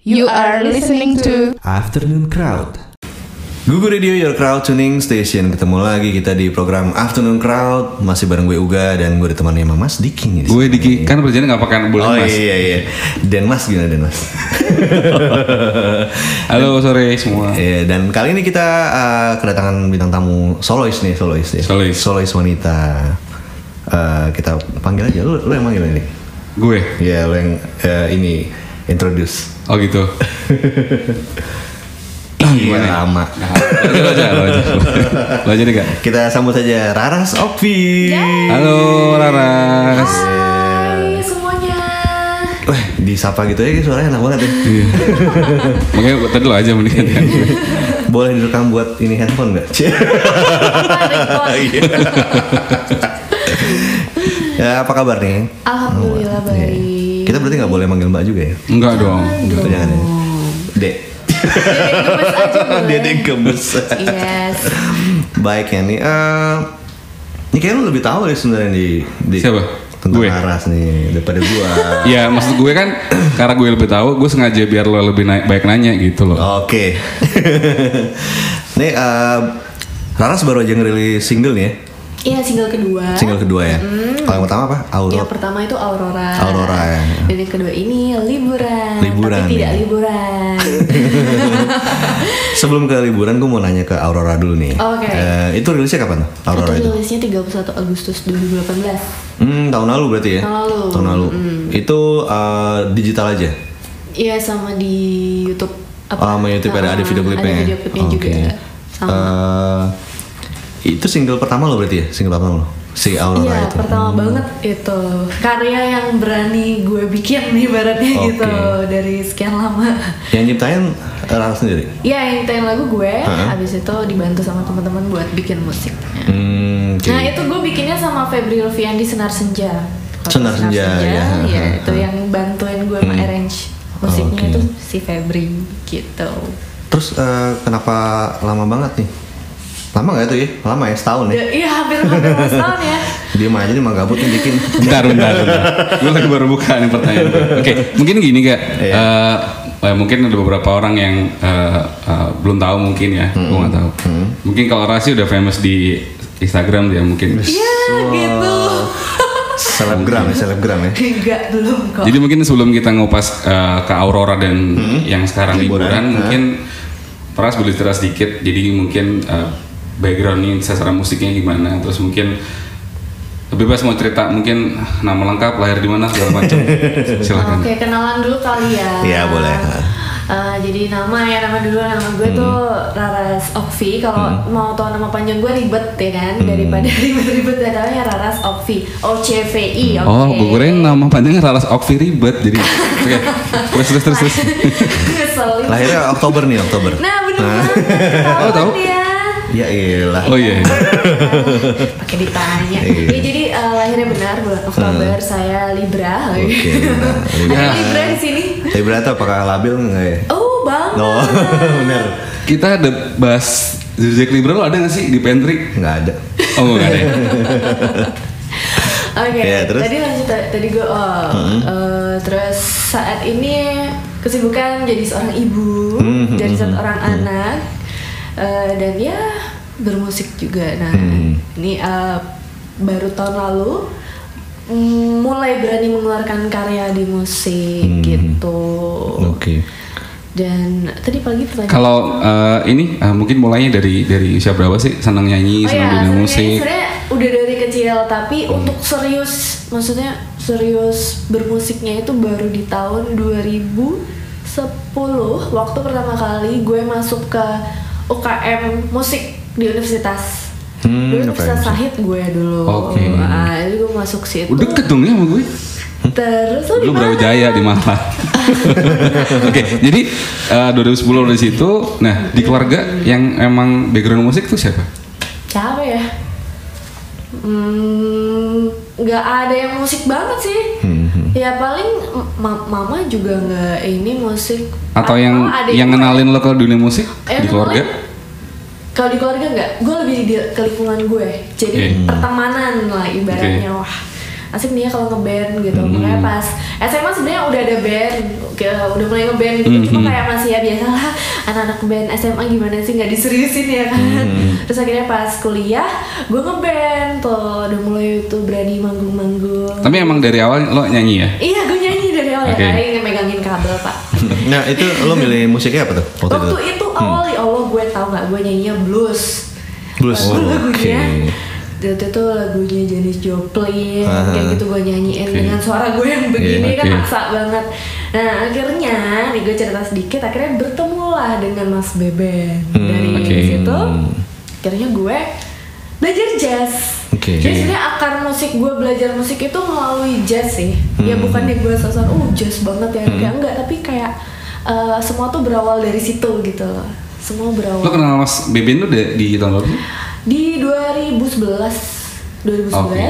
You are listening to Afternoon Crowd. Google Radio Your Crowd Tuning Station. Ketemu lagi kita di program Afternoon Crowd. Masih bareng gue Uga dan gue ditemani sama Mas Diki nih. di Gue sini. Diki, kan perjanjian gak pakai Oh bulan mas iya iya. Dan Mas gimana Dan Mas? Halo sore semua Iya, dan kali ini kita eh, kedatangan bintang tamu solois nih, solois ya. Solois. wanita. Eh, kita panggil aja lu, lu yang manggil ini. Gue, Ya, lu yang eh, ini introduce. oh gitu Oh, Iya, lama. Lo Nah, aja, lo aja, lo aja Lo aja deh Kak. Kita sambut saja Raras Opi. Halo Raras Hai semuanya. Wah, disapa gitu ya suaranya enak banget ya. Iya. Makanya tadi lo aja mendingan ya. Boleh direkam buat ini handphone nggak? Iya. ya apa kabar nih? Alhamdulillah Iya. baik. Kita berarti nggak boleh manggil Mbak juga ya? Enggak dong Gitu jangan ya. Dek. Dedek gemes aja boleh. Dedek gemes. Yes. Baik ya nih. eh, ini kayaknya lu lebih tahu deh sebenarnya di, di Siapa? tentang Gue. Aras nih daripada gua. Ya maksud gue kan Karena gue lebih tahu Gue sengaja biar lo lebih naik, baik nanya gitu loh Oke. nih eh, Raras baru aja ngerilis single nih ya. Iya single kedua. Single kedua ya. Kalau yang pertama apa? Aurora. Yang pertama itu Aurora. Aurora, ya. Dan yang kedua ini liburan. Liburan, Tapi tidak ya. liburan. Sebelum ke liburan, gue mau nanya ke Aurora dulu nih. Oke. Eh, itu rilisnya kapan tuh? Aurora itu itu? rilisnya 31 Agustus 2018. Hmm, tahun lalu berarti ya? Tahun lalu. Hmm. Itu eh, digital aja? Iya sama di YouTube. Oh, sama YouTube ada, ada video Ah, klipnya? ya? Oh, Ada video klipnya Oke. juga. Sama. Eh, itu single pertama lo berarti ya? Single pertama lo? Si Aurora Iya, itu? Hmm. pertama banget itu karya yang berani gue bikin nih baratnya Oke. gitu dari sekian lama. Yang nyiptain eh, Rara sendiri? Iya, yang nyanyiin lagu gue, habis itu dibantu sama teman-teman buat bikin musik. Hmm, oke. Nah, itu gue bikinnya sama Febri Rofian di Senar Senja. Kalau Senar Senja, ya. iya, Ha, itu yang bantuin gue arrange musiknya Oke. itu si Febri gitu. Terus eh, kenapa lama banget nih? Lama gak itu ya? Lama ya? Setahun ya? Da- Iya, hampir hampir dua tahun ya. Dia mah aja nih, emang gabut nih bikin Bentar, bentar, bentar. Gue lagi baru buka nih pertanyaan gue. Oke, mungkin gini gak? Iya. Eh, eh, mungkin ada beberapa orang yang eh, eh, belum tahu mungkin ya. Gue nggak tahu. Hmm. Mungkin kalau Rasi udah famous di Instagram dia mungkin. Iya, gitu. Selebgram ya, selebgram ya Enggak belum kok. Hmm. Jadi mungkin sebelum kita ngupas eh, ke Aurora dan yang sekarang Liburan, liburan, ha. mungkin Ras boleh cerita sedikit. Jadi mungkin eh, backgroundnya secara musiknya gimana, terus mungkin bebas mau cerita mungkin nama lengkap, lahir di mana segala macam. Ah, Silakan. Oke, kenalan dulu kali ya. Hmm. Iya, boleh. Hmm. Eh, jadi nama ya nama dulu nama gue tuh Raras Okvi. Kalau mau tahu nama panjang gue ribet ya kan Hmm. daripada ribet-ribet ya namanya Raras Okvi. O C V I. Hmm. oke. Oh, gue kira yang nama panjangnya Raras Okvi ribet jadi. Oke. Terus terus terus. terus. Ngeselin. Lahirnya Oktober nih, Oktober Nah bener banget. Oh, tahu. ketahuan dia. Ya iyalah Oh iya. iya. pakai ditanya. Iya. Hmm. Ya jadi eh, lahirnya benar bulan Oktober saya Libra. Oke, nah, iya. Libra. Ada Libra. Libra di sini. Tapi berarti apakah labil nggak ya? Oh, bang. No, bener. Kita ada bahas Zizek Libra lo ada gak sih di pantry? Nggak ada. Oh nggak ada. ya? Oke, Ya, terus? Mm-hmm. tadi lanjut tadi gue oh, eh, terus saat ini kesibukan jadi seorang ibu, Hmm, jadi hmm, seorang anak eh, dan ya bermusik juga. Nah, Mm-hmm. ini eh, baru tahun lalu mm, mulai berani mengeluarkan karya di musik Hmm. gitu. Oke. Dan tadi pagi pertanyaan Kalau eh, ini eh, mungkin mulainya dari dari usia berapa sih senang nyanyi, senang iya, dunia sebenarnya- musik? Hmm. sebenarnya udah dari kecil tapi untuk serius maksudnya serius bermusiknya itu baru di tahun 2010 waktu pertama kali gue masuk ke UKM musik di universitas. Hmm, dulu universitas UKM. Sahid gue dulu. Oke. Ah, jadi gue masuk situ. Udah deket dong ya sama gue. Oh, Terus lu di Dulu mana? Brawijaya Jaya di Malang. Oke, jadi eh, 2010 dari situ. Nah, di keluarga yang emang background musik tuh siapa? Siapa ya? Hmm, nggak ada yang musik banget sih. Hmm, Ya paling ma- mama juga nggak ini musik. Ah, Atau yang malah adik yang gue. kenalin lo ke dunia musik Eh, di keluarga? kenalin. Kalau di keluarga nggak, gue lebih di ke lingkungan gue. Jadi Iya. Hmm. Oke. Hmm. pertemanan lah ibaratnya Oke. wah. asik nih ya kalau ngeband gitu makanya pas SMA sebenarnya udah ada band kayak udah mulai ngeband gitu cuma Hmm. kayak masih ya biasalah anak-anak band SMA gimana sih nggak diseriusin ya kan Hmm. terus akhirnya pas kuliah gue ngeband tuh udah mulai tuh berani manggung-manggung Tapi emang dari awal lo nyanyi ya? iya gue nyanyi dari awal Oke. ya Aing yang megangin kabel pak Nah itu lo milih musiknya apa tuh waktu, waktu itu? Hmm. itu awal ya Allah gue tau nggak gue nyanyinya blues Blues. Lagu- Oh, lagunya oke. Ah, Waktu itu lagunya Janis Joplin Aha. kayak gitu gue nyanyiin Oke. dengan suara gue yang begini Iya, kan oke. maksa banget nah akhirnya nih gue cerita sedikit akhirnya bertemulah dengan Mas Beben Hmm, dari oke. situ akhirnya gue belajar jazz Oke. Jadi sebenarnya akar musik gue belajar musik itu melalui jazz sih ya Hmm. Hmm. bukannya gue sosok oh jazz banget ya enggak enggak tapi kayak eh, semua tuh berawal dari situ gitu loh semua Lo berawal kenal Mas Beben tuh di, di tahun berapa? sih? di 2011 2011 Oke.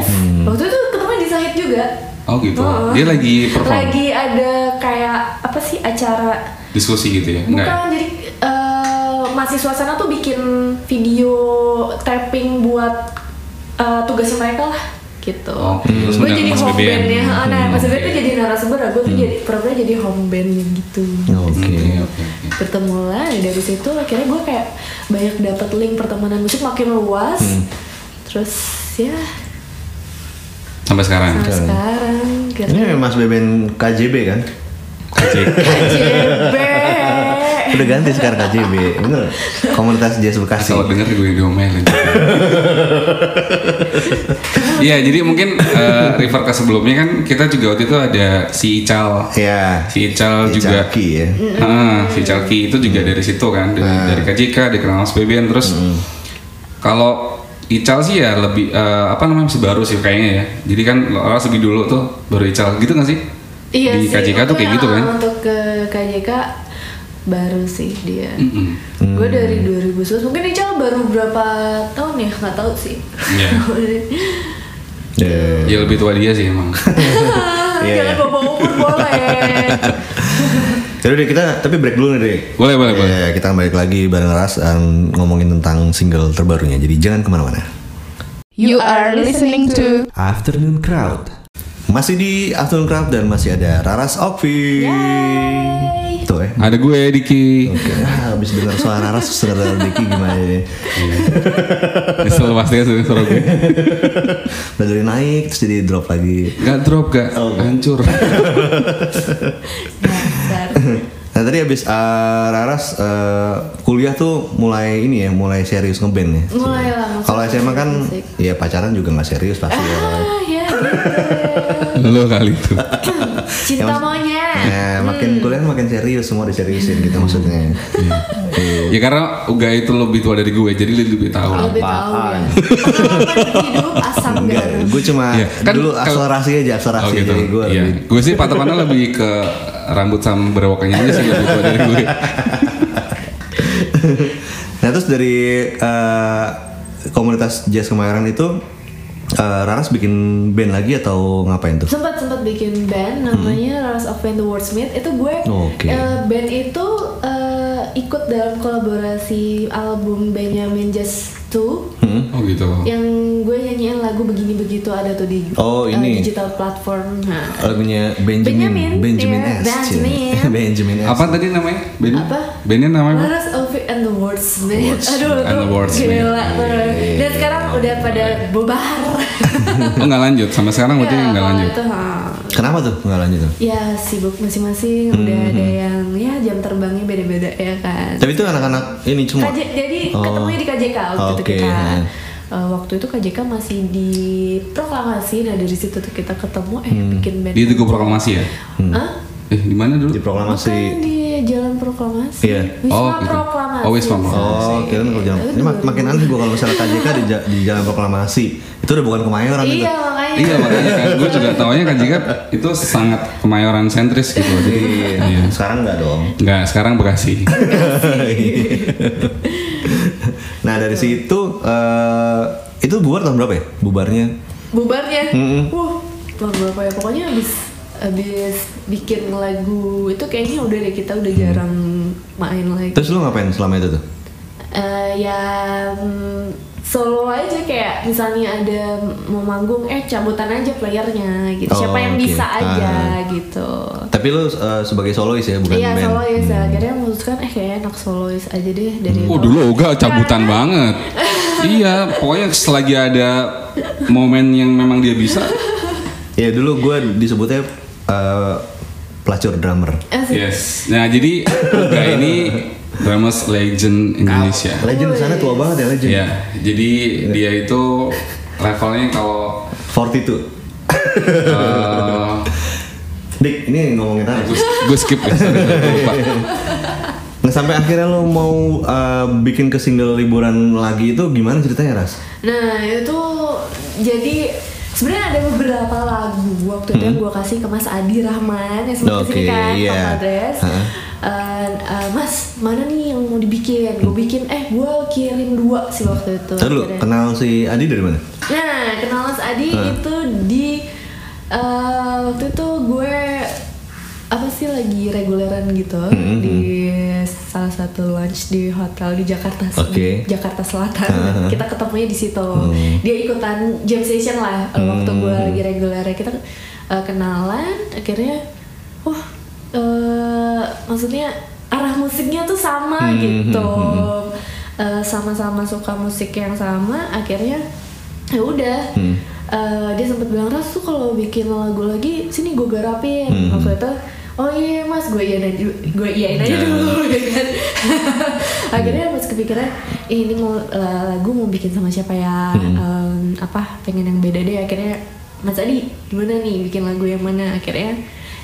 waktu itu ketemu di Sahid juga Oh gitu. Heeh. Dia lagi perform, lagi ada kayak apa sih acara diskusi gitu ya? Bukan, Enggak. ya? jadi eh, mahasiswa sana tuh bikin video tapping buat eh, tugasnya mereka lah gitu. Oke, Oh, terus Gue undang jadi Mas home BBM. band ya. Nah, Mas BBM tuh Hmm, oke. Hmm. jadi narasumber, gue tuh jadi programnya jadi home band gitu. Oke. Oh, Oke oke oke. Bertemulah dari situ akhirnya gue kayak banyak dapat link pertemanan musik makin luas. Hmm. Terus ya Sampai sekarang. sampai sekarang gitu. Ini Mas Beben KJB kan? KJB. Udah ganti sekarang KJB, bener? Komunitas Jazz Bekasi. Nah, Kalau denger gue diomelin. Iya, jadi mungkin eh, refer ke sebelumnya kan kita juga waktu itu ada si Ical. Ya. Si Ical Ical juga. Iya. Ki ya. Heeh, si Ical Ki itu juga dari situ kan, dari, dari KJK, dikenal Mas Beben terus. Kalau Ical sih ya lebih eh, apa namanya masih baru sih kayaknya ya. Jadi kan orang lebih dulu tuh baru Ical gitu nggak sih? Iya Di sih, KJK tuh kayak maksudnya, gitu kan. uh, Untuk ke KJK baru sih dia. Mm-mm. Gue Hmm. dari 2011 mungkin Ical baru berapa tahun ya nggak tahu sih. Iya. Ya. Ya lebih tua dia sih emang. Iya, Ah, Jangan iya. bawa umur boleh. Jadi Ya deh kita tapi break dulu nih deh. boleh, boleh, boleh. Ya, kita balik lagi bareng Ras um, ngomongin tentang single terbarunya. Jadi jangan kemana-mana. You are listening to Afternoon Crowd. Masih di Afternoon Crowd dan masih ada Raras Ovi. Tuh ya. Ada gue Diki. Oke, ah, habis dengar suara Raras terus dengar Diki gimana ya? Nyesel pasti kan suara- suara gue. Udah dari naik terus jadi drop lagi. Gak drop gak Oh. hancur. Dasar. Nah tadi habis eh, Raras eh, kuliah tuh mulai ini ya, mulai serius ngeband ya. Mulai lah, maksudnya Kalau SMA kan musik. ya pacaran juga nggak serius pasti ya. ah ya gitu. Lo kali itu. Cinta monyet. Hmm. Nah, makin kuliah makin serius semua diseriusin gitu maksudnya. Ya karena Uga itu lebih tua dari gue jadi dia lebih tahu. lah. Lebih tahu ya. Pengalaman hidup asam Enggak, garam. gue cuma Iya, kan dulu kalau- akselerasi aja akselerasi Oh gitu. jadi gue Iya. lebih- Gue sih patokannya lebih ke rambut sama berewokannya aja sih lebih tua dari gue. Nah terus dari eh, komunitas jazz kemarin itu eh, Raras bikin band lagi atau ngapain tuh? sempat sempat bikin band namanya Rise of When the World Smith itu gue Oke. eh, band itu eh, ikut dalam kolaborasi album Benjamin Just Two Hmm? Oh gitu. yang gue nyanyiin lagu begini begitu ada tuh di Oh, eh, ini. digital platform nah, Lagunya Benjamin, Benjamin Benjamin iya. S. cie. Benjamin. Benjamin S. Apa tadi namanya? Ben? Apa? Bandnya namanya apa? Rise of It and the World Smith aduh and the tuh Wordsmith. gila tuh. dan sekarang udah pada bubar Oh nggak lanjut. Sama sekarang berarti Ya, nggak kalau lanjut. itu, ha. Kenapa tuh nggak lanjut? tuh? ya sibuk masing-masing udah ada yang ya jam terbangnya beda-beda ya kan Tapi itu anak-anak ini cuma KJ jadi Oh. ketemunya di KJK waktu Oke, itu kita. heeh. Eh, waktu itu KJK masih di proklamasi, nah dari situ tuh kita ketemu eh Hmm. bikin band. Dia teguh proklamasi ya. Hah? Eh di mana dulu? di Bukan, proklamasi. di Jalan Proklamasi. Iya. Wisma Oh, gitu. Proklamasi. Oh, Wisma Proklamasi. Oh, kira kalau jalan. Ini mak- makin aneh gue kalau misalnya KJK di, ja- di jalan proklamasi itu udah bukan kemayoran itu. Iya, makanya. Iya makanya kan gue juga taunya kan jika itu sangat kemayoran sentris gitu. Jadi iya. Sekarang nggak dong. Nggak sekarang Bekasi. Iya. nah dari situ eh, itu bubar tahun berapa ya? Bubarnya? Bubarnya. Mm-mm. Wah, tahun berapa ya? Pokoknya habis habis bikin lagu itu kayaknya udah deh kita udah Hmm. jarang main lagi. Terus lu ngapain selama itu tuh? Eh, ya mm, solo aja kayak misalnya ada mau manggung eh cabutan aja playernya gitu siapa Oh, yang oke. bisa aja Ah. gitu Tapi lu uh, sebagai solois ya, bukan iya band. solois akhirnya memutuskan eh kayak enak solois aja deh dari Oh dulu Oga cabutan banget. iya, pokoknya selagi ada momen yang memang dia bisa. Iya dulu gue disebutnya uh, pelacur drummer. Eh, sih. Yes. Nah jadi Oga ini Dramas Legend Indonesia. Legend sana tua banget ya legend. Ya, jadi dia itu levelnya kalau 42. eh, Dik, ini ngomongin apa? gue gue skip ya, sorry, sorry, gue lupa. Nah sampai akhirnya lo mau uh, bikin ke single liburan lagi itu gimana ceritanya Ras? Nah itu jadi sebenarnya ada beberapa lagu waktu itu yang gue kasih ke Mas Adi Rahman yang sempat Hmm. Oke, kesini kan iya. sama Dres. Heeh. Eh, eh, mas mana nih yang mau dibikin? Gue bikin eh gue kirim dua sih waktu itu. Tadi lu akhirnya. kenal si Adi dari mana? Nah kenal Mas Adi itu di eh, waktu itu gue apa sih lagi reguleran gitu di salah satu lunch di hotel di Jakarta Sel- Oke. Jakarta Selatan. Kita ketemunya di situ. Dia ikutan jam session lah waktu gue lagi reguler. Kita uh, kenalan, akhirnya, wah, uh, maksudnya arah musiknya tuh sama gitu, Uh, sama-sama suka musik yang sama. Akhirnya, ya udah. Uh, dia sempat bilang Ras tuh kalau bikin lagu lagi sini gue garapin waktu itu oh iya mas gue iyain aja gue iyain aja dulu ya kan akhirnya mas kepikiran "Ih, ini mau eh, lagu mau bikin sama siapa ya Em, apa pengen yang beda deh akhirnya mas Adi gimana nih bikin lagu yang mana akhirnya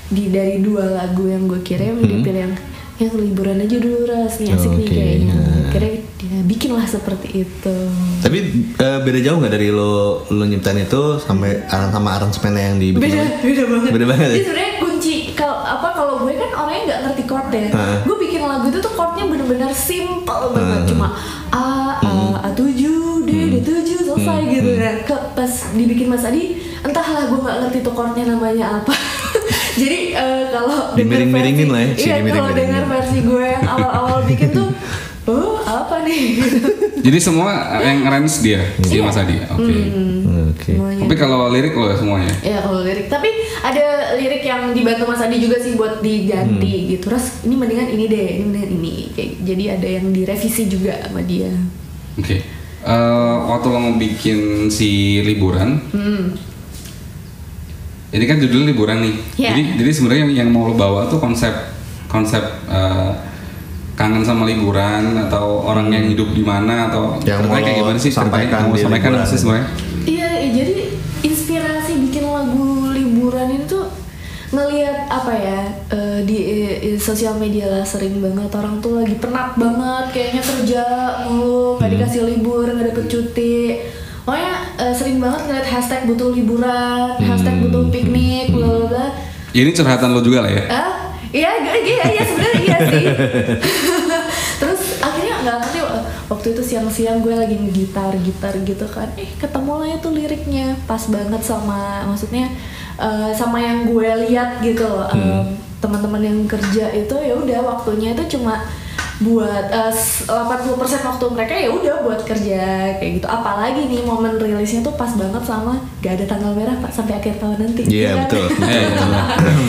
di dari dua lagu yang gue kirim dia pilih yang yang liburan aja dulu ras nih asik nih Oke, kayaknya nah. akhirnya dia bikinlah seperti itu Tapi eh, beda jauh nggak dari lo lo nyiptain itu sampai aran sama aransemennya yang dibikin? beda lagi? beda banget Gitu. Iya. Beda banget Jadi ya? sebenarnya kunci kalau apa kalau gue kan orangnya nggak ngerti chord ya Heeh. gue bikin lagu itu tuh chordnya bener-bener simple banget cuma a a Hmm. a tujuh d d tujuh selesai gitu kan ke pas dibikin mas Adi entahlah gue nggak ngerti tuh chordnya namanya apa jadi eh, kalau denger Dimiring-miringin versi- lah ya, si iya kalau dimiring-miringin. dengar versi gue yang awal-awal bikin tuh oh apa nih Jadi semua yang arrange dia, dia Mas Adi. Oke. Hmm, Oke. semuanya Tapi kalau lirik lo semuanya. Ya kalau lirik, tapi ada lirik yang dibantu Mas Adi juga sih buat diganti gitu. Terus ini mendingan ini deh, ini mendingan ini. Kayak, jadi ada yang direvisi juga sama dia. Oke. Eh, waktu lo mau bikin si liburan, Hmm. ini kan judul liburan nih. Ya. Jadi, jadi sebenarnya yang, yang mau lo bawa tuh konsep konsep eh, kangen sama liburan atau orang Hmm. yang hidup di mana atau Yang ceritanya mau kayak lo gimana sih ceritanya? sampaikan Yang mau di sampaikan apa liburan. sih sebenarnya? Iya, ya, jadi inspirasi bikin lagu liburan itu ngelihat apa ya eh, di eh, sosial media lah sering banget orang tuh lagi penat banget kayaknya kerja mulu nggak dikasih libur nggak dapet cuti pokoknya eh, sering banget ngeliat hashtag butuh liburan hashtag butuh piknik bla bla bla Ya, ini curhatan lo juga lah ya. Ah, iya, iya, iya, iya sebenarnya iya sih. Terus akhirnya nggak ngerti wak- waktu itu siang-siang gue lagi gitar gitar gitu kan, eh ketemu lah itu liriknya pas banget sama maksudnya eh, sama yang gue lihat gitu loh. Em, Hmm. teman-teman yang kerja itu ya udah waktunya itu cuma buat eh, s- 80% waktu mereka ya udah buat kerja kayak gitu apalagi nih momen rilisnya tuh pas banget sama gak ada tanggal merah pak sampai akhir tahun nanti Iya Iya kan? betul. Iya, betul,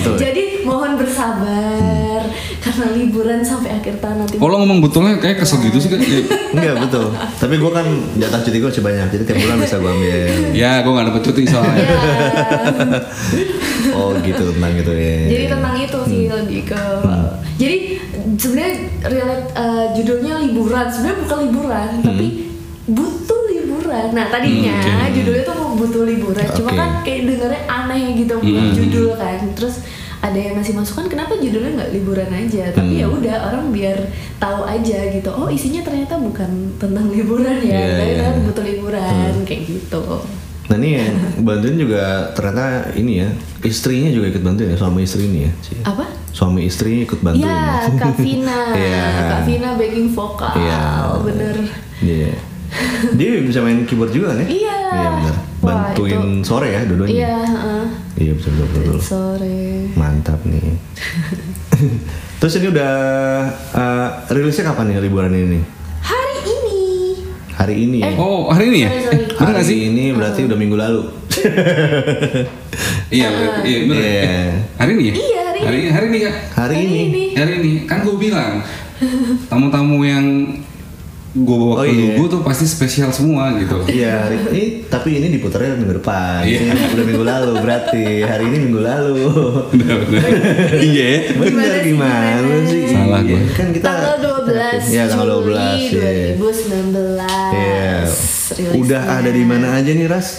betul. Jadi mohon bersabar karena liburan sampai akhir tahun nanti. Oh lo ngomong betulnya kayak kesel gitu sih kan? Ya, Enggak betul. Tapi gue kan jatah cuti gue banyak, jadi tiap bulan bisa gue ambil. ya gue gak dapet cuti soalnya. Ya. Oh gitu tentang gitu ya. Jadi tentang itu sih lebih ke. uh, Jadi sebenarnya relate eh, judulnya liburan. Sebenarnya bukan liburan, tapi butuh liburan. Nah tadinya Hmm, oke. judulnya tuh mau butuh liburan. Cuma Oke. kan kayak dengarnya aneh gitu buat Hmm. judul kan. Terus ada yang ngasih masukan kenapa judulnya nggak liburan aja tapi ya udah orang biar tahu aja gitu oh isinya ternyata bukan tentang liburan ya Iya, tapi iya. ternyata butuh liburan kayak gitu Nah ini yang bantuin juga ternyata ini ya istrinya juga ikut bantuin ya suami istri ini ya. Ci. apa Suami istrinya ikut bantuin. Ya, Kak Vina. Iya. Kak Vina backing vokal. Iya. Bener. Iya. Dia bisa main keyboard juga kan ya? Iya. benar. Wah, Bantuin itu- sore ya dua-duanya. Iya, heeh. Iya betul betul. betul. sore. Mantap nih. Terus ini udah eh, rilisnya kapan nih liburan ini? Hari ini Hari ini ya. Oh hari ini ya? Sorry, Eh, sorry. bener hari gak sih? ini berarti udah minggu lalu. Iya, iya bener. Iya. Eh, Hari ini ya? Iya, hari ini. Hari, hari ini kak. Hari ini. Hari ini kan gue bilang tamu-tamu yang gue Oh, bawa ke iya. Lugu tuh pasti spesial semua gitu. Iya, hari ini tapi ini diputarnya minggu depan. Iya. Ini udah minggu lalu berarti. Hari ini minggu lalu. Bener, bener. Iya. ya? Bener Gimana sih, gimana gimana? sih? Salah Iya, gua. Kan kita tanggal 12 Iya, tanggal 12. Juli iya. 2019. Iya. Rilisnya. Udah ada di mana aja nih, Ras?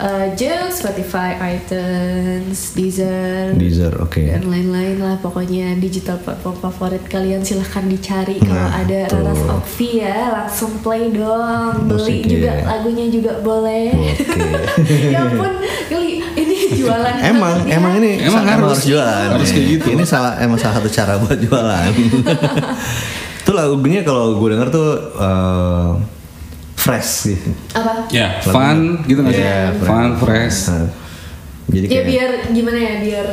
Eh, Joox, Spotify, iTunes, Deezer, Deezer, iya. oke. dan lain-lain lah pokoknya digital platform favorit kalian silahkan dicari kalau Nah, ada tuh. Raras Okvi ya langsung play dong beli Musik, juga iya. lagunya juga boleh Oke. ya ampun geli ini jualan Emang, banget ya. emang ini Emang sa- harus. jualan. Harus nih. kayak gitu. Ini salah emang salah satu cara buat jualan. Itu lagunya kalau gue denger tuh eh, fresh gitu. apa Ya, fun gitu nggak sih? Iya, fun, fresh. Nah, Jadi ya kayak biar gimana ya biar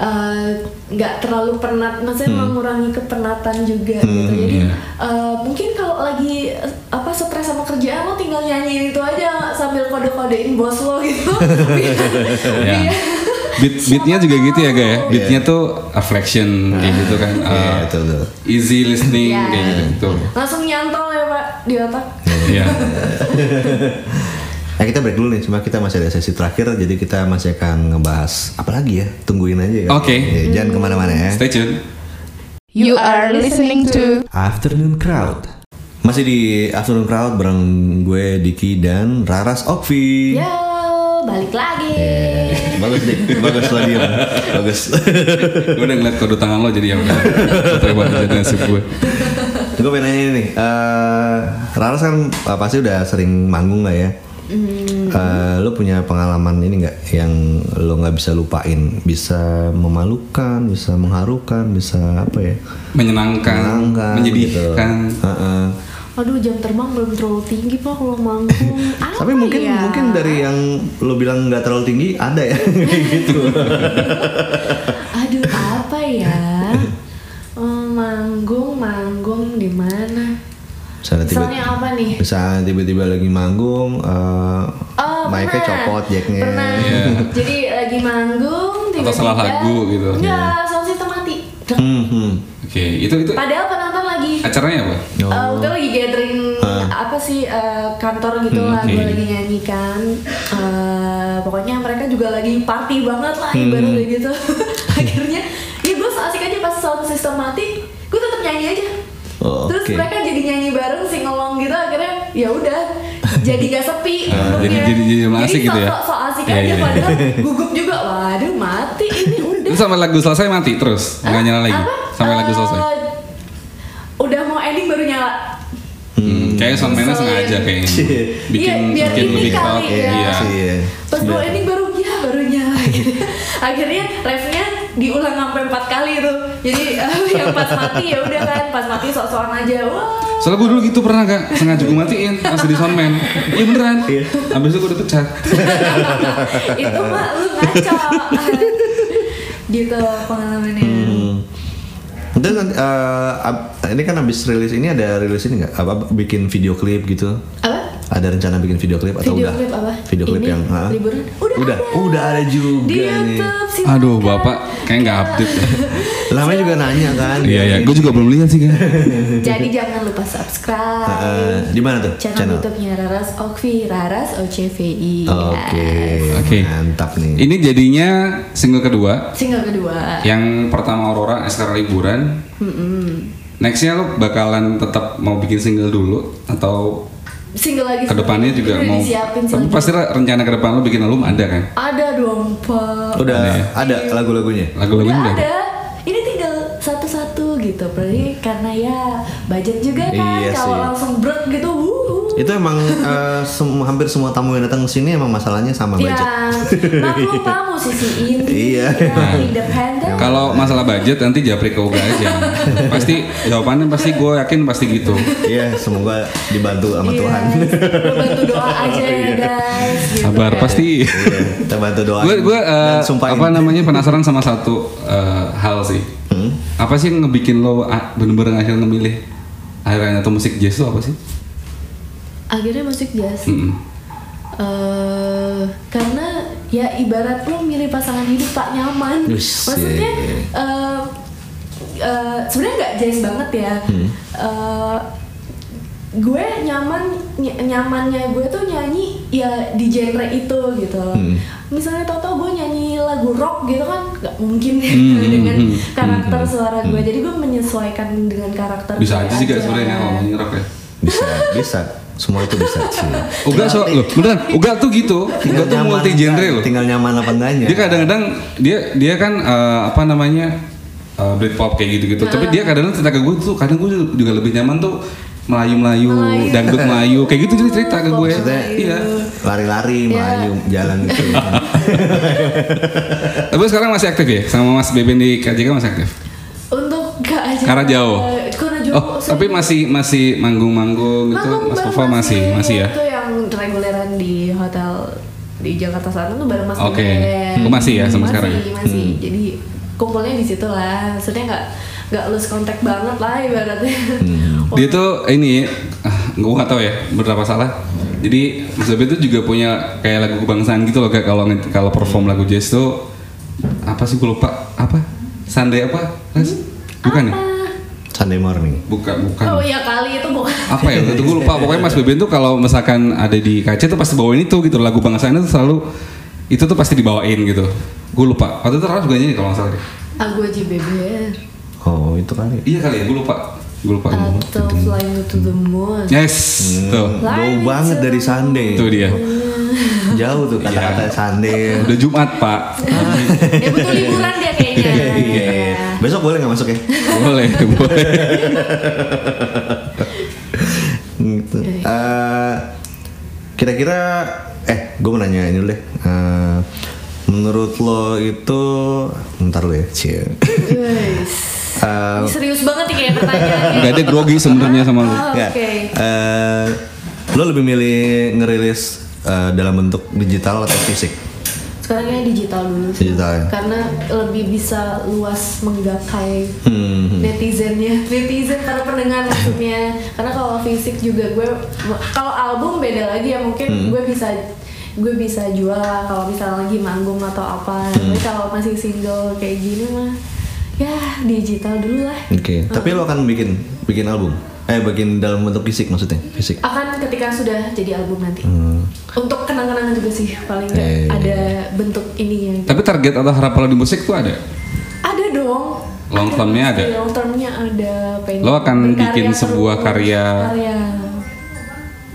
eh, nggak terlalu penat maksudnya Hmm. mengurangi kepenatan juga gitu jadi iya. eh, mungkin kalau lagi eh, apa stres sama kerjaan lo tinggal nyanyiin itu aja sambil kode-kodein bos lo gitu Iya. biar, Ya. biar- Beat, beatnya juga gitu ya gak ya? Beatnya tuh afflection kayak gitu kan. Iya, eh, betul, betul. easy listening Iya. kayak gitu. gitu. langsung nyantol ya pak di otak Iya. Nah kita break dulu nih, cuma kita masih ada sesi terakhir, jadi kita masih akan ngebahas apa lagi ya? Tungguin aja ya. Oke. Ya, jangan kemana-mana ya. Stay tune. You are listening to Afternoon Crowd. Masih di Afternoon Crowd bareng gue Diki dan Raras Okvi. ya balik lagi Iya, Eh, Bagus deh, bagus lah dia. Bagus. gue udah ngeliat kode tangan lo jadi ya udah. Foto yang banget nasib gue. gue pengen nanya nih, eh, Raras kan eh, pasti udah sering manggung lah ya. Hmm. Eh, lo punya pengalaman ini nggak yang lo nggak bisa lupain, bisa memalukan, bisa mengharukan, bisa apa ya? Menyenangkan, Menyenangkan, Kan, menyedihkan. gitu. Heeh. aduh jam terbang belum terlalu tinggi pak kalau manggung Apa Tapi mungkin ya? mungkin dari yang lo bilang nggak terlalu tinggi ada ya kayak gitu. Aduh apa ya? Hmm, manggung, manggung di mana? Misalnya tiba- Misalnya apa nih? Misalnya tiba-tiba lagi manggung, eh Oh, mic-nya pernah. copot jacknya. Pernah. Iya. Jadi lagi manggung tiba-tiba salah lagu gitu. Enggak, sound system mati. Dek. Hmm, hmm. Oke, itu itu Padahal penonton lagi acaranya apa? Eh, waktu itu lagi gathering Ah. apa sih eh, kantor gitu lah Hmm, gue iya. lagi nyanyi kan Eh, pokoknya mereka juga lagi party banget lah Hmm. ibaratnya gitu akhirnya ya gue asik aja pas sound system mati gue tetap nyanyi aja Oh, terus oke. mereka jadi nyanyi bareng singelong gitu akhirnya ya udah jadi gak sepi Ah, jadi- untungnya. jadi- jadi asik gitu ya? so, so asik Iya, aja iya. padahal gugup juga waduh mati ini udah Itu sampai lagu selesai mati terus, nggak nyala lagi. Apa? Sampai lagu Eh, selesai. udah mau ending baru nyala Hmm, kayaknya soundman-nya Ngeselin. sengaja kayaknya. Bikin Iya, biar bikin ini lebih kali crowd. ya. Iya. Pasti ya. Pas gue ini baru ya baru nyala Akhirnya refnya diulang sampai empat kali itu. Jadi eh, yang pas mati ya udah kan, pas mati sok-sokan aja. Wah. Soalnya gue dulu gitu pernah gak sengaja gue matiin pas di soundman. Iya beneran. Abis itu gue dipecat. itu mah lu ngaco. gitu pengalamannya. Hmm. Terus nanti, eh, ab- ini kan habis rilis ini ada rilis ini nggak? Apa bikin video klip gitu? Apa? Ada rencana bikin video klip atau Video udah? klip apa? Video klip Ini, yang ah? liburan? Udah udah, ada. udah ada juga Di nih. YouTube kan. silakan. Aduh bapak, kayak nggak update. Lamanya juga nanya kan? Iya iya, gue juga belum lihat sih kan. Jadi jangan lupa Eh, eh, subscribe. di mana tuh Channel, YouTube-nya Raras Okvi, Raras OCVI. Oke, Oke. mantap nih. Ini jadinya single kedua. Single kedua. Yang pertama Aurora sekarang liburan. Nextnya lo bakalan tetap mau bikin single dulu atau single lagi kedepannya sendiri. juga Iya, Udah mau? disiapin Tapi single. pasti lah rencana ke depan lo bikin album ada kan? ada dong pak Udah ada lagu-lagunya. Lagu-lagunya Udah udah. ada ini tinggal satu-satu gitu berarti karena ya budget juga kan Iya kalau sih. langsung brek gitu wuhu Itu emang eh, sem- hampir semua tamu yang datang ke sini emang masalahnya Iya, sama ya budget. maklum pak musisi ini Iya. ya, independen Kalau masalah budget nanti japri ke Uga aja. pasti jawabannya pasti gue yakin pasti gitu. Iya, semoga dibantu sama Iya, Tuhan. lu bantu doa aja ya guys gitu Sabar kan. pasti. Iya, kita bantu doa. Gue gue dan eh, sumpahin. apa namanya penasaran sama satu eh, hal sih. Hmm? Apa sih yang ngebikin lo ah, bener-bener akhirnya ngemilih akhirnya atau musik jazz lo apa sih? akhirnya masuk jazz Mm-mm. eh karena ya ibarat lo milih pasangan hidup tak nyaman Wis, maksudnya iya, iya. eh, eh, sebenarnya nggak jazz banget ya Hmm. Eh, gue nyaman ny- nyamannya gue tuh nyanyi ya di genre itu gitu Hmm. misalnya tau-tau gue nyanyi lagu rock gitu kan nggak mungkin ya Hmm, hmm, dengan hmm, karakter suara gue jadi gue menyesuaikan dengan karakter Bisa gue aja sih gak sebenarnya ngomongin rock ya. bisa bisa semua itu bisa sih Uga so, loh, beneran, Uga tuh gitu, Uga tuh nyaman multi genre apa- loh. tinggal nyaman apa Ya. enggaknya Dia kadang-kadang dia dia kan eh, apa namanya eh, Britpop kayak gitu-gitu. Nah. Tapi dia kadang-kadang cerita ke gue tuh, kadang gue juga lebih nyaman tuh Melayu-melayu, Melayu. dangdut Melayu, kayak gitu jadi cerita ke gue. Maksudnya- Iya. lari-lari melayu jalan gitu Tapi sekarang masih aktif ya, sama Mas Beben di KJK masih aktif. untuk gak aja Karena jauh. Eh, Karena jauh Oh, sering. tapi masih masih manggung-manggung gitu, Manggung Mas bareng Pova masih masih ya. Itu yang reguleran di hotel di Jakarta Selatan tuh bareng Mas Oke. Beben. Oh, masih ya sampai masih, sekarang ya? Masih. Jadi kumpulnya di situ lah. Maksudnya nggak nggak lose kontak banget lah ibaratnya. Hmm. Dia tuh ini ah, gue nggak tahu ya berapa salah. Jadi Mas Bebe tuh juga punya kayak lagu kebangsaan gitu loh kayak kalau nge- kalau perform lagu jazz tuh apa sih gue lupa apa Sunday apa Res? bukan ya Sunday morning bukan bukan Oh iya kali itu bukan. apa ya itu gue lupa pokoknya Mas Beben tuh kalau misalkan ada di kaca tuh pasti bawain itu gitu lagu bangsaannya tuh selalu itu tuh pasti dibawain gitu gue lupa waktu itu Ras juga nyanyi kalau nggak salah deh Aku aja Beben. oh itu kali iya kali ya gue lupa gue lupa Atau Flying to the Moon. yes Hmm, tuh jauh banget dari Sunday itu dia Iya. jauh tuh kata-kata Sunday udah Jumat pak ya betul liburan dia kayaknya. Iya, Iya. besok boleh nggak masuk ya boleh boleh gitu. Eh, kira-kira eh gue mau nanya ini dulu deh. Eh, menurut lo itu bentar lo ya cie. Guys. Eh, Ini serius banget nih kayak pertanyaannya. nggak ada grogi sebenarnya sama lu Ya. Oh, enggak. Oke. Eh, lo lebih milih ngerilis eh, dalam bentuk digital atau fisik? Sekarang ini digital dulu sih. Digital ya? Karena lebih bisa luas menggapai Hmm. netizennya, netizen para pendengar maksudnya. Karena kalau fisik juga gue, kalau album beda lagi ya mungkin Hmm. gue bisa gue bisa jual lah kalau misalnya lagi manggung atau apa. Hmm. Tapi kalau masih single kayak gini mah, ya digital dulu lah. Oke. Tapi lo akan bikin bikin album? Eh bikin dalam bentuk fisik maksudnya? Fisik. Akan ketika sudah jadi album nanti. Hmm. Untuk kenang-kenangan juga sih paling nggak Eh. ada bentuk ininya. tapi target atau harapan lo di musik tuh ada Ada dong. Long termnya ada? pasti, Long termnya ada. Pengen Lo akan berkarya bikin terus. sebuah karya- Karya.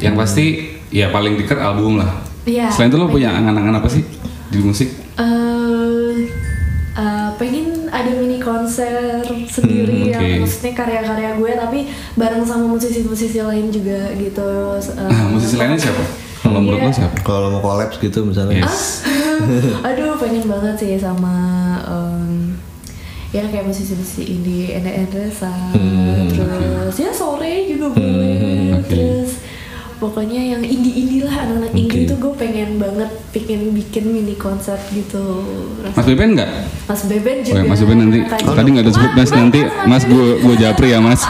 yang pasti ya paling dekat album lah Iya. selain itu lo punya angan-angan apa sih di musik Eh, eh, pengen ada mini konser sendiri Hmm, oke. yang maksudnya karya-karya gue tapi bareng sama musisi-musisi lain juga gitu. Eh, ah, musisi lainnya Ah. siapa kalau menurut lo Iya. siapa Kalau mau collabs gitu misalnya? yes Aduh pengen banget sih sama em, ya kayak musisi-musisi indie, E Enda Endresa, terus ya sore juga boleh, Hmm, oke. terus pokoknya yang indie-indie lah anak-anak indie Oke. itu gue pengen banget pengen bikin mini konser gitu. Mas rasanya. Beben nggak? Mas Beben Oh juga. ya, Mas Beben nanti tadi nggak ada sebut Mas, Mas Mas, nanti Mas, Mas gue gue japri ya Mas.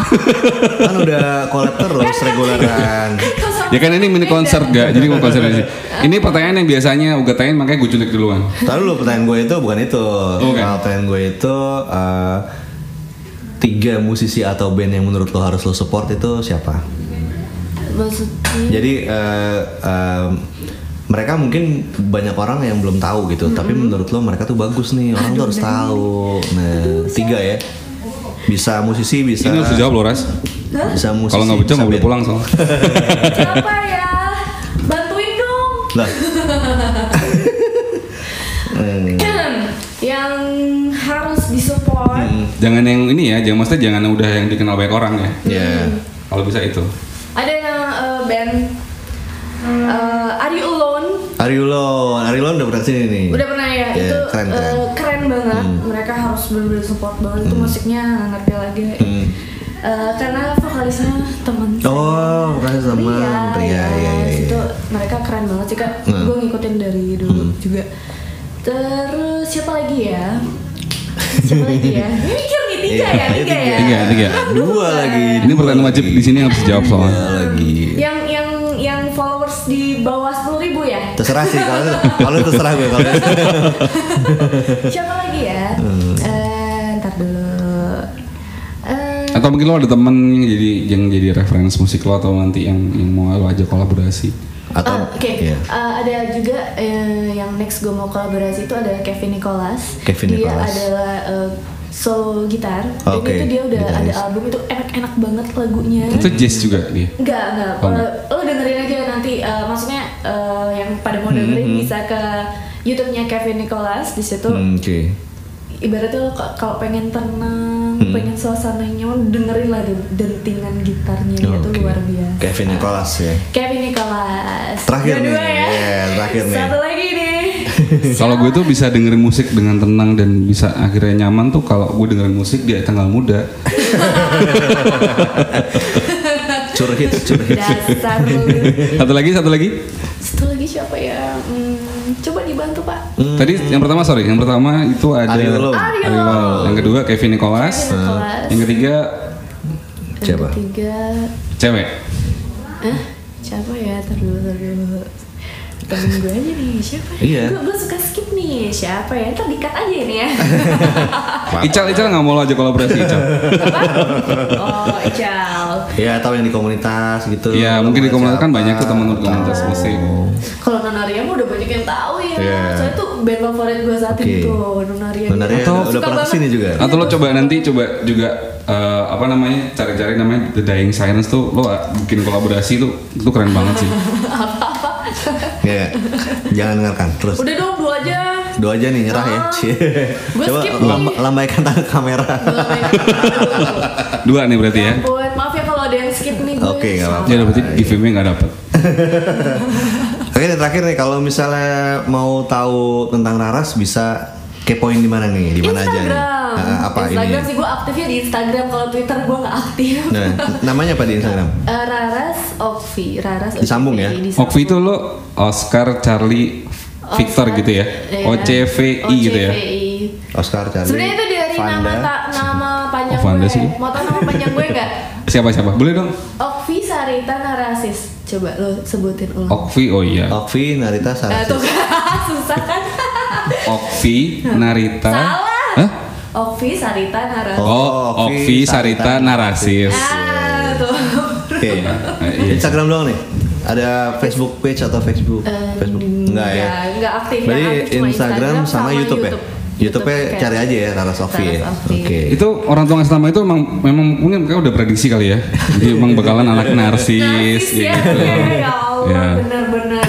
Kan udah collab terus reguleran. ya kan ini mini konser gak? Jadi mau konser ini. Ini pertanyaan yang biasanya gue tanyain makanya gue culik duluan. Tahu lu pertanyaan gue itu bukan itu. Oh, bukan. Pertanyaan gue itu eh, tiga musisi atau band yang menurut lo harus lo support itu siapa? Hmm. Maksudnya Jadi eh, eh, mereka mungkin banyak orang yang belum tahu gitu, Hmm. tapi menurut lo mereka tuh bagus nih, orang tuh harus tahu. Nah, tiga ya. Bisa musisi, bisa Ini lo harus jawab lo Ras. bisa musisi. Kalau nggak bisa bocor nggak boleh band. pulang soalnya. siapa ya? Bantuin dong. Lah. Hmm, Kan, yang harus disupport Jangan yang ini ya, jangan maksudnya jangan yang udah yang dikenal banyak orang ya. ya. Kalau bisa itu. ada yang eh, band eh, Are You Alone Ariulon, Ariulon udah pernah sini nih. udah pernah ya Iya, itu eh, keren, keren, keren. Hmm. banget mereka harus benar-benar support banget itu musiknya nggak ngerti lagi Hmm. Eh, karena vokalisnya temen saya. Oh, vokalisnya temen. Ria, Ria, iya, iya, iya. itu mereka keren banget sih kak Hmm. gue ngikutin dari dulu juga terus siapa lagi ya siapa lagi ya ini mikir nih tiga ya Iya, tiga ya Tiga, tiga. Dua lagi. Ini pertanyaan wajib di sini harus dijawab soalnya. Iya. Dua Iya, lagi. yang yang yang ya? Terserah sih kalau kalau terserah gue kalau Siapa lagi ya? Hmm. Eh, ntar dulu. Eh, Atau mungkin lo ada temen yang jadi yang jadi referensi musik lo atau nanti yang yang mau lo ajak kolaborasi. atau ah, Oke, ya. Eh, ada juga eh, yang next gue mau kolaborasi itu ada Kevin Nicholas. Kevin dia Nicholas. adalah eh, solo gitar. Dan Oke, itu dia udah ada gitaris. album itu enak-enak banget lagunya. Itu jazz juga dia. Enggak, enggak. Oh, enggak. Eh, lo dengerin aja nanti. eh, maksudnya eh, yang pada Mm-hmm. mau dengerin bisa ke YouTube-nya Kevin Nicholas di situ. Hmm, Oke. Iya, Ibaratnya lo ka- kalau pengen tenang, Mm-hmm. pengen suasana yang nyaman, dengerin lah den- dentingan gitarnya dia tuh Oh, Oke. luar biasa. Kevin Nicholas ya. Kevin Nicholas. Terakhir Dua-dua nih, ya. iya, terakhir nih. Satu lagi nih. Kalau gue tuh bisa dengerin musik dengan tenang dan bisa akhirnya nyaman tuh kalau gue dengerin musik di tanggal muda. Curhit, curhit. Dasar lu. Satu lagi, satu lagi. Satu lagi siapa ya? Hmm, coba dibantu Pak. Tadi yang pertama sorry, yang pertama itu ada Ari Wilow. Ari Ari Wilow. Wilow. Yang kedua Kevin Nicholas. Kevin Nicholas. Yang ketiga Yang Siapa? Ketiga. cewek. Eh, siapa ya? Ntar dulu, ntar dulu. Temen gue aja nih, siapa? Iya. Gue, gue suka skip nih, siapa ya? Ntar dikat aja ini ya. Maaf. Ical, Ical nggak mau lo ajak kolaborasi Ical. Apa? Oh, Ical. Ya atau yang di komunitas gitu. Oh. Iya, mungkin di komunitas kan siapa, banyak tuh teman atau- komunitas musik. Kalau Nonaria mah udah banyak yang tahu ya. Iya. Soalnya itu band favorit gue saat Oke. itu, Nonaria. Nonaria Atau udah- udah suka pernah banget. kesini juga? Atau lo coba nanti coba juga eh, apa namanya cari-cari namanya The Dying Silence tuh lo bikin kolaborasi tuh itu keren banget sih. Iya. Jangan dengarkan terus. Udah dong, dua aja. Dua aja nih nyerah ya. Ah. Cie. Gua Coba skip lam- nih. lambaikan tangan kamera. Belum ya. Dua nih berarti ya. Ampun, maaf ya kalau ada yang skip nih gue. Iya. Oke, nggak apa-apa. Ya udah, berarti give me nggak dapet. Oke, dan terakhir nih kalau misalnya mau tahu tentang Raras bisa kepoin di mana nih? Di mana aja nih? Instagram. Ah, apa Instagram ini? sih gue aktifnya di Instagram. Kalau Twitter gue nggak aktif. Nah, namanya apa di Instagram? Eh, Raras Okvi, Raras Disambung ya? Okvi itu lo Oscar Charlie Victor gitu ya. Iya. OCVI gitu ya. Oscar Charlie. Sebenarnya itu dari nama Vanda. ta- nama panjang Oh, Vanda gue. sih. Mau tau nama panjang gue nggak? Siapa siapa? Boleh dong. Okvi Sarita Narasis. Coba lo sebutin ulang. Okvi oh iya. Hmm. Okvi Narita Eh, tuh Sarasi. susah kan? Okvi Narita. Hmm. Salah. Nah, kan? Hah? Okvi Sarita Narasis. Oh, Okvi Okvi Sarita Sarita Narasis. iya. Ah, tuh. Oke. Eh, iya. Instagram doang nih. Ada Facebook page atau Facebook? Eh, Facebook. ya? enggak, enggak aktif. Yang Berarti aktif cuma Instagram, Instagram sama sama, YouTube, YouTube. ya. YouTube-nya YouTube cari kayak- aja ya Rara Sofi ya. Rara Oke. Sofi. Itu orang tua ngasih nama itu emang memang mungkin mereka udah prediksi kali ya. Jadi emang bakalan anak narsis Narsis ya, gitu. ya Allah, Ya. benar-benar.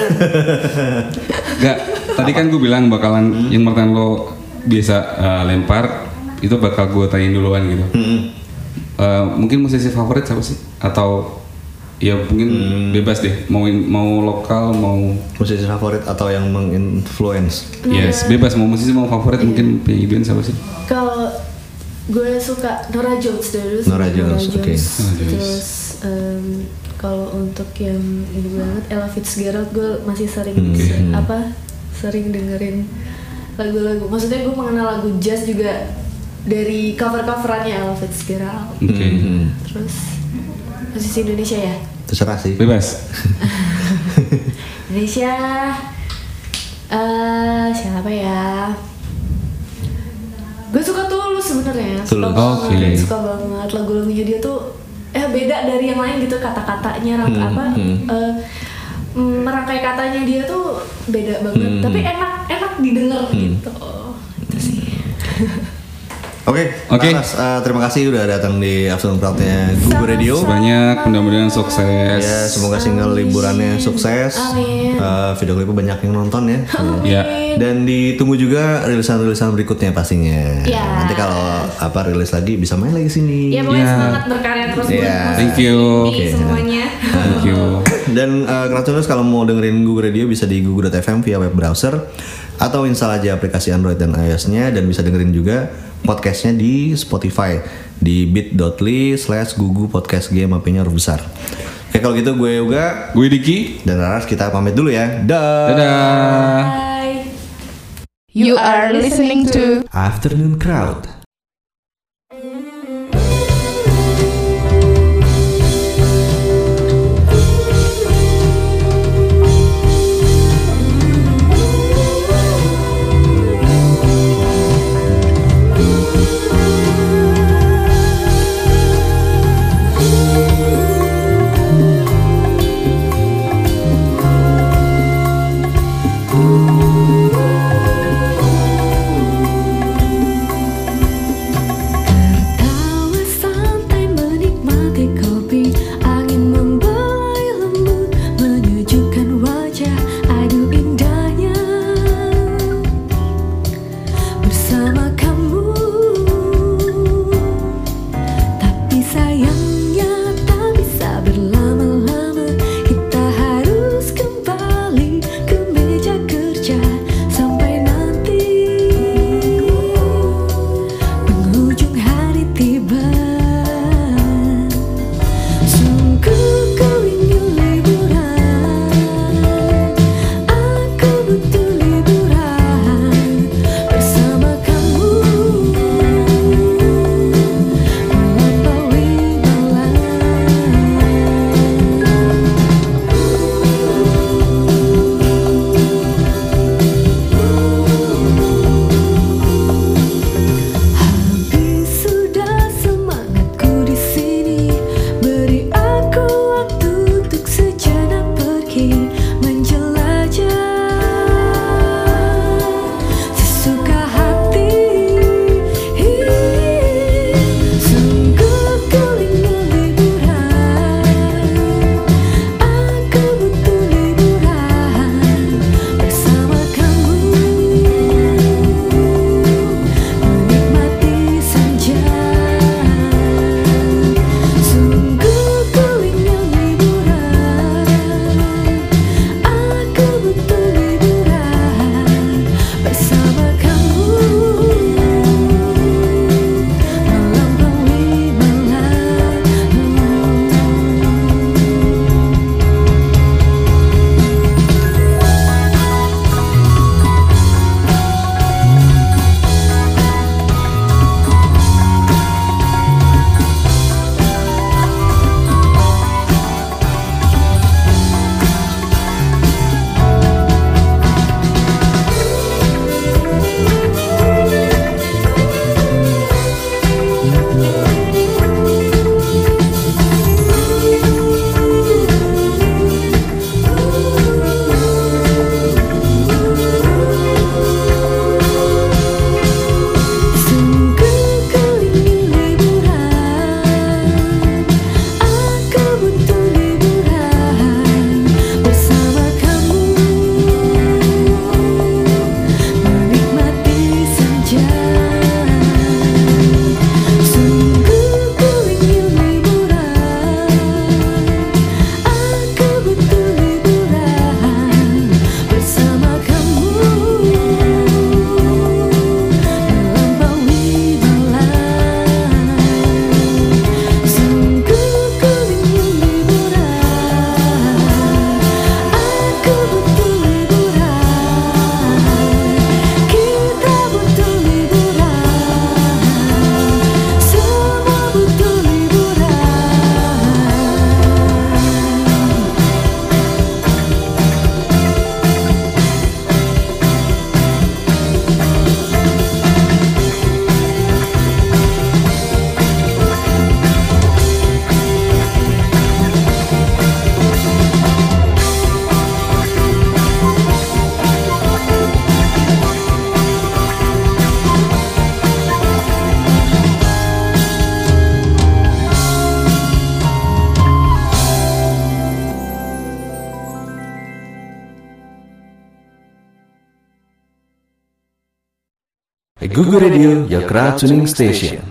Gak, tadi kan gue bilang bakalan yang pertanyaan lo biasa eh, lempar itu bakal gue tanyain duluan gitu. Eh, mungkin musisi favorit siapa sih? Atau ya mungkin bebas deh. Mau mau lokal mau Musisi favorit atau yang menginfluence. yes Iya. bebas mau musisi mau favorit mungkin punya band siapa sih? Kalau gue suka Nora Jones dulu. suka Norah Jones, oke. Norah Jones. Terus em, kalau untuk yang ini banget Ella Fitzgerald gue masih sering Hmm, apa sering dengerin lagu-lagu. Maksudnya gue mengenal lagu jazz juga dari cover-coverannya Ella Fitzgerald. Oke. Terus musisi Indonesia ya. Hmm, Terserah sih. Bebas. Indonesia eh siapa ya gue suka tulus sebenarnya suka Tulus, banget oke. suka banget lagu-lagunya dia tuh eh beda dari yang lain gitu kata-katanya Hmm, rang- apa eh, mm, merangkai katanya dia tuh beda banget Hmm. tapi enak enak didengar gitu itu sih Oke. Oke. Raras, eh, terima kasih udah datang di Afternoon Crowd-nya Google Radio. Banyak mudah-mudahan sukses. Ya, semoga single liburannya sukses. Amin. Eh, video klipnya banyak yang nonton ya. Ya. Dan ditunggu juga rilisan-rilisan berikutnya pastinya. Ya. Nanti kalau apa rilis lagi bisa main lagi sini. ya pokoknya Ya. semangat berkarya terus buat Ya. musik Thank you. ini semuanya Thank you. Dan uh, Keracunos kalau mau dengerin Google Radio bisa di google.fm via web browser atau install aja aplikasi Android dan iOS-nya dan bisa dengerin juga podcastnya di Spotify di bit.ly slash gugu podcast game HP-nya huruf besar. Oke kalau gitu gue Yoga Gue Diki. dan Raras kita pamit dulu ya. Dah. Dadah. bye You are listening to Afternoon Crowd. Google Radio, your crowd tuning station.